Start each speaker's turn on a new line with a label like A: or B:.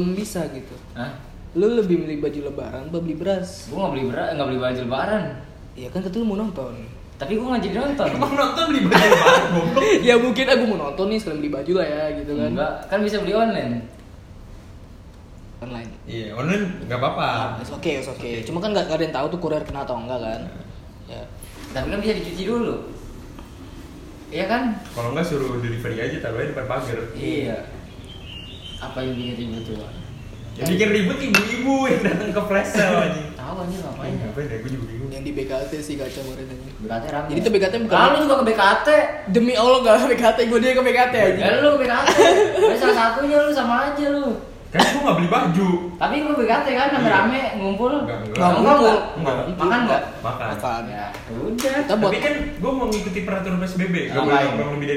A: belum bisa gitu
B: Hah?
A: lu lebih milih baju lebaran apa beli beras
B: Gue nggak beli beras, nggak beli baju lebaran.
A: ya kan katanya lu mau nonton
B: Tapi gue nggak jadi nonton.
C: Emang nonton beli baju lebaran goblok.
A: ya mungkin aku mau nonton nih sekalian beli baju lah ya gitu kan
B: Enggak, kan bisa beli online.
A: online
C: Iya, online enggak apa-apa.
A: Kan It's okay, it's okay. Cuma kan gak, ada yang tahu tuh kurir kena atau enggak kan. Ya.
B: Tapi kan bisa dicuci dulu. Iya kan?
C: Kalau enggak suruh delivery aja taruhnya depan pagar.
B: Iya. Apa yang bikin ribut tuh? Wak?
C: Ya bikin ribut ibu-ibu yang datang ke flash sale anjing.
B: Tahu aja
A: Iya.
B: ngapain ya?
C: Ngapain ya gue juga bingung.
A: Yang di BKT sih kaca kemarin aja.
B: BKT rame.
A: Jadi tuh BKT bukan- ya?
B: Ah, lu juga ke BKT.
A: Demi Allah gak BKT, gue dia ke BKT aja.
B: Ya lu ke BKT. Lu salah satunya lu sama aja lu.
C: Kan gue enggak beli baju.
B: Tapi lu BKT kan rame-rame ngumpul.
C: Enggak, enggak.
A: Nggak
B: Enggak,
A: ngumpul.
B: enggak.
A: Nggak
B: Makan enggak?
C: Makan.
A: Makan.
B: Ya, udah.
A: Kita buat
C: Tapi kan gue mau ngikuti peraturan PSBB, enggak boleh
B: Ngapain?
C: nongkrong lebih dari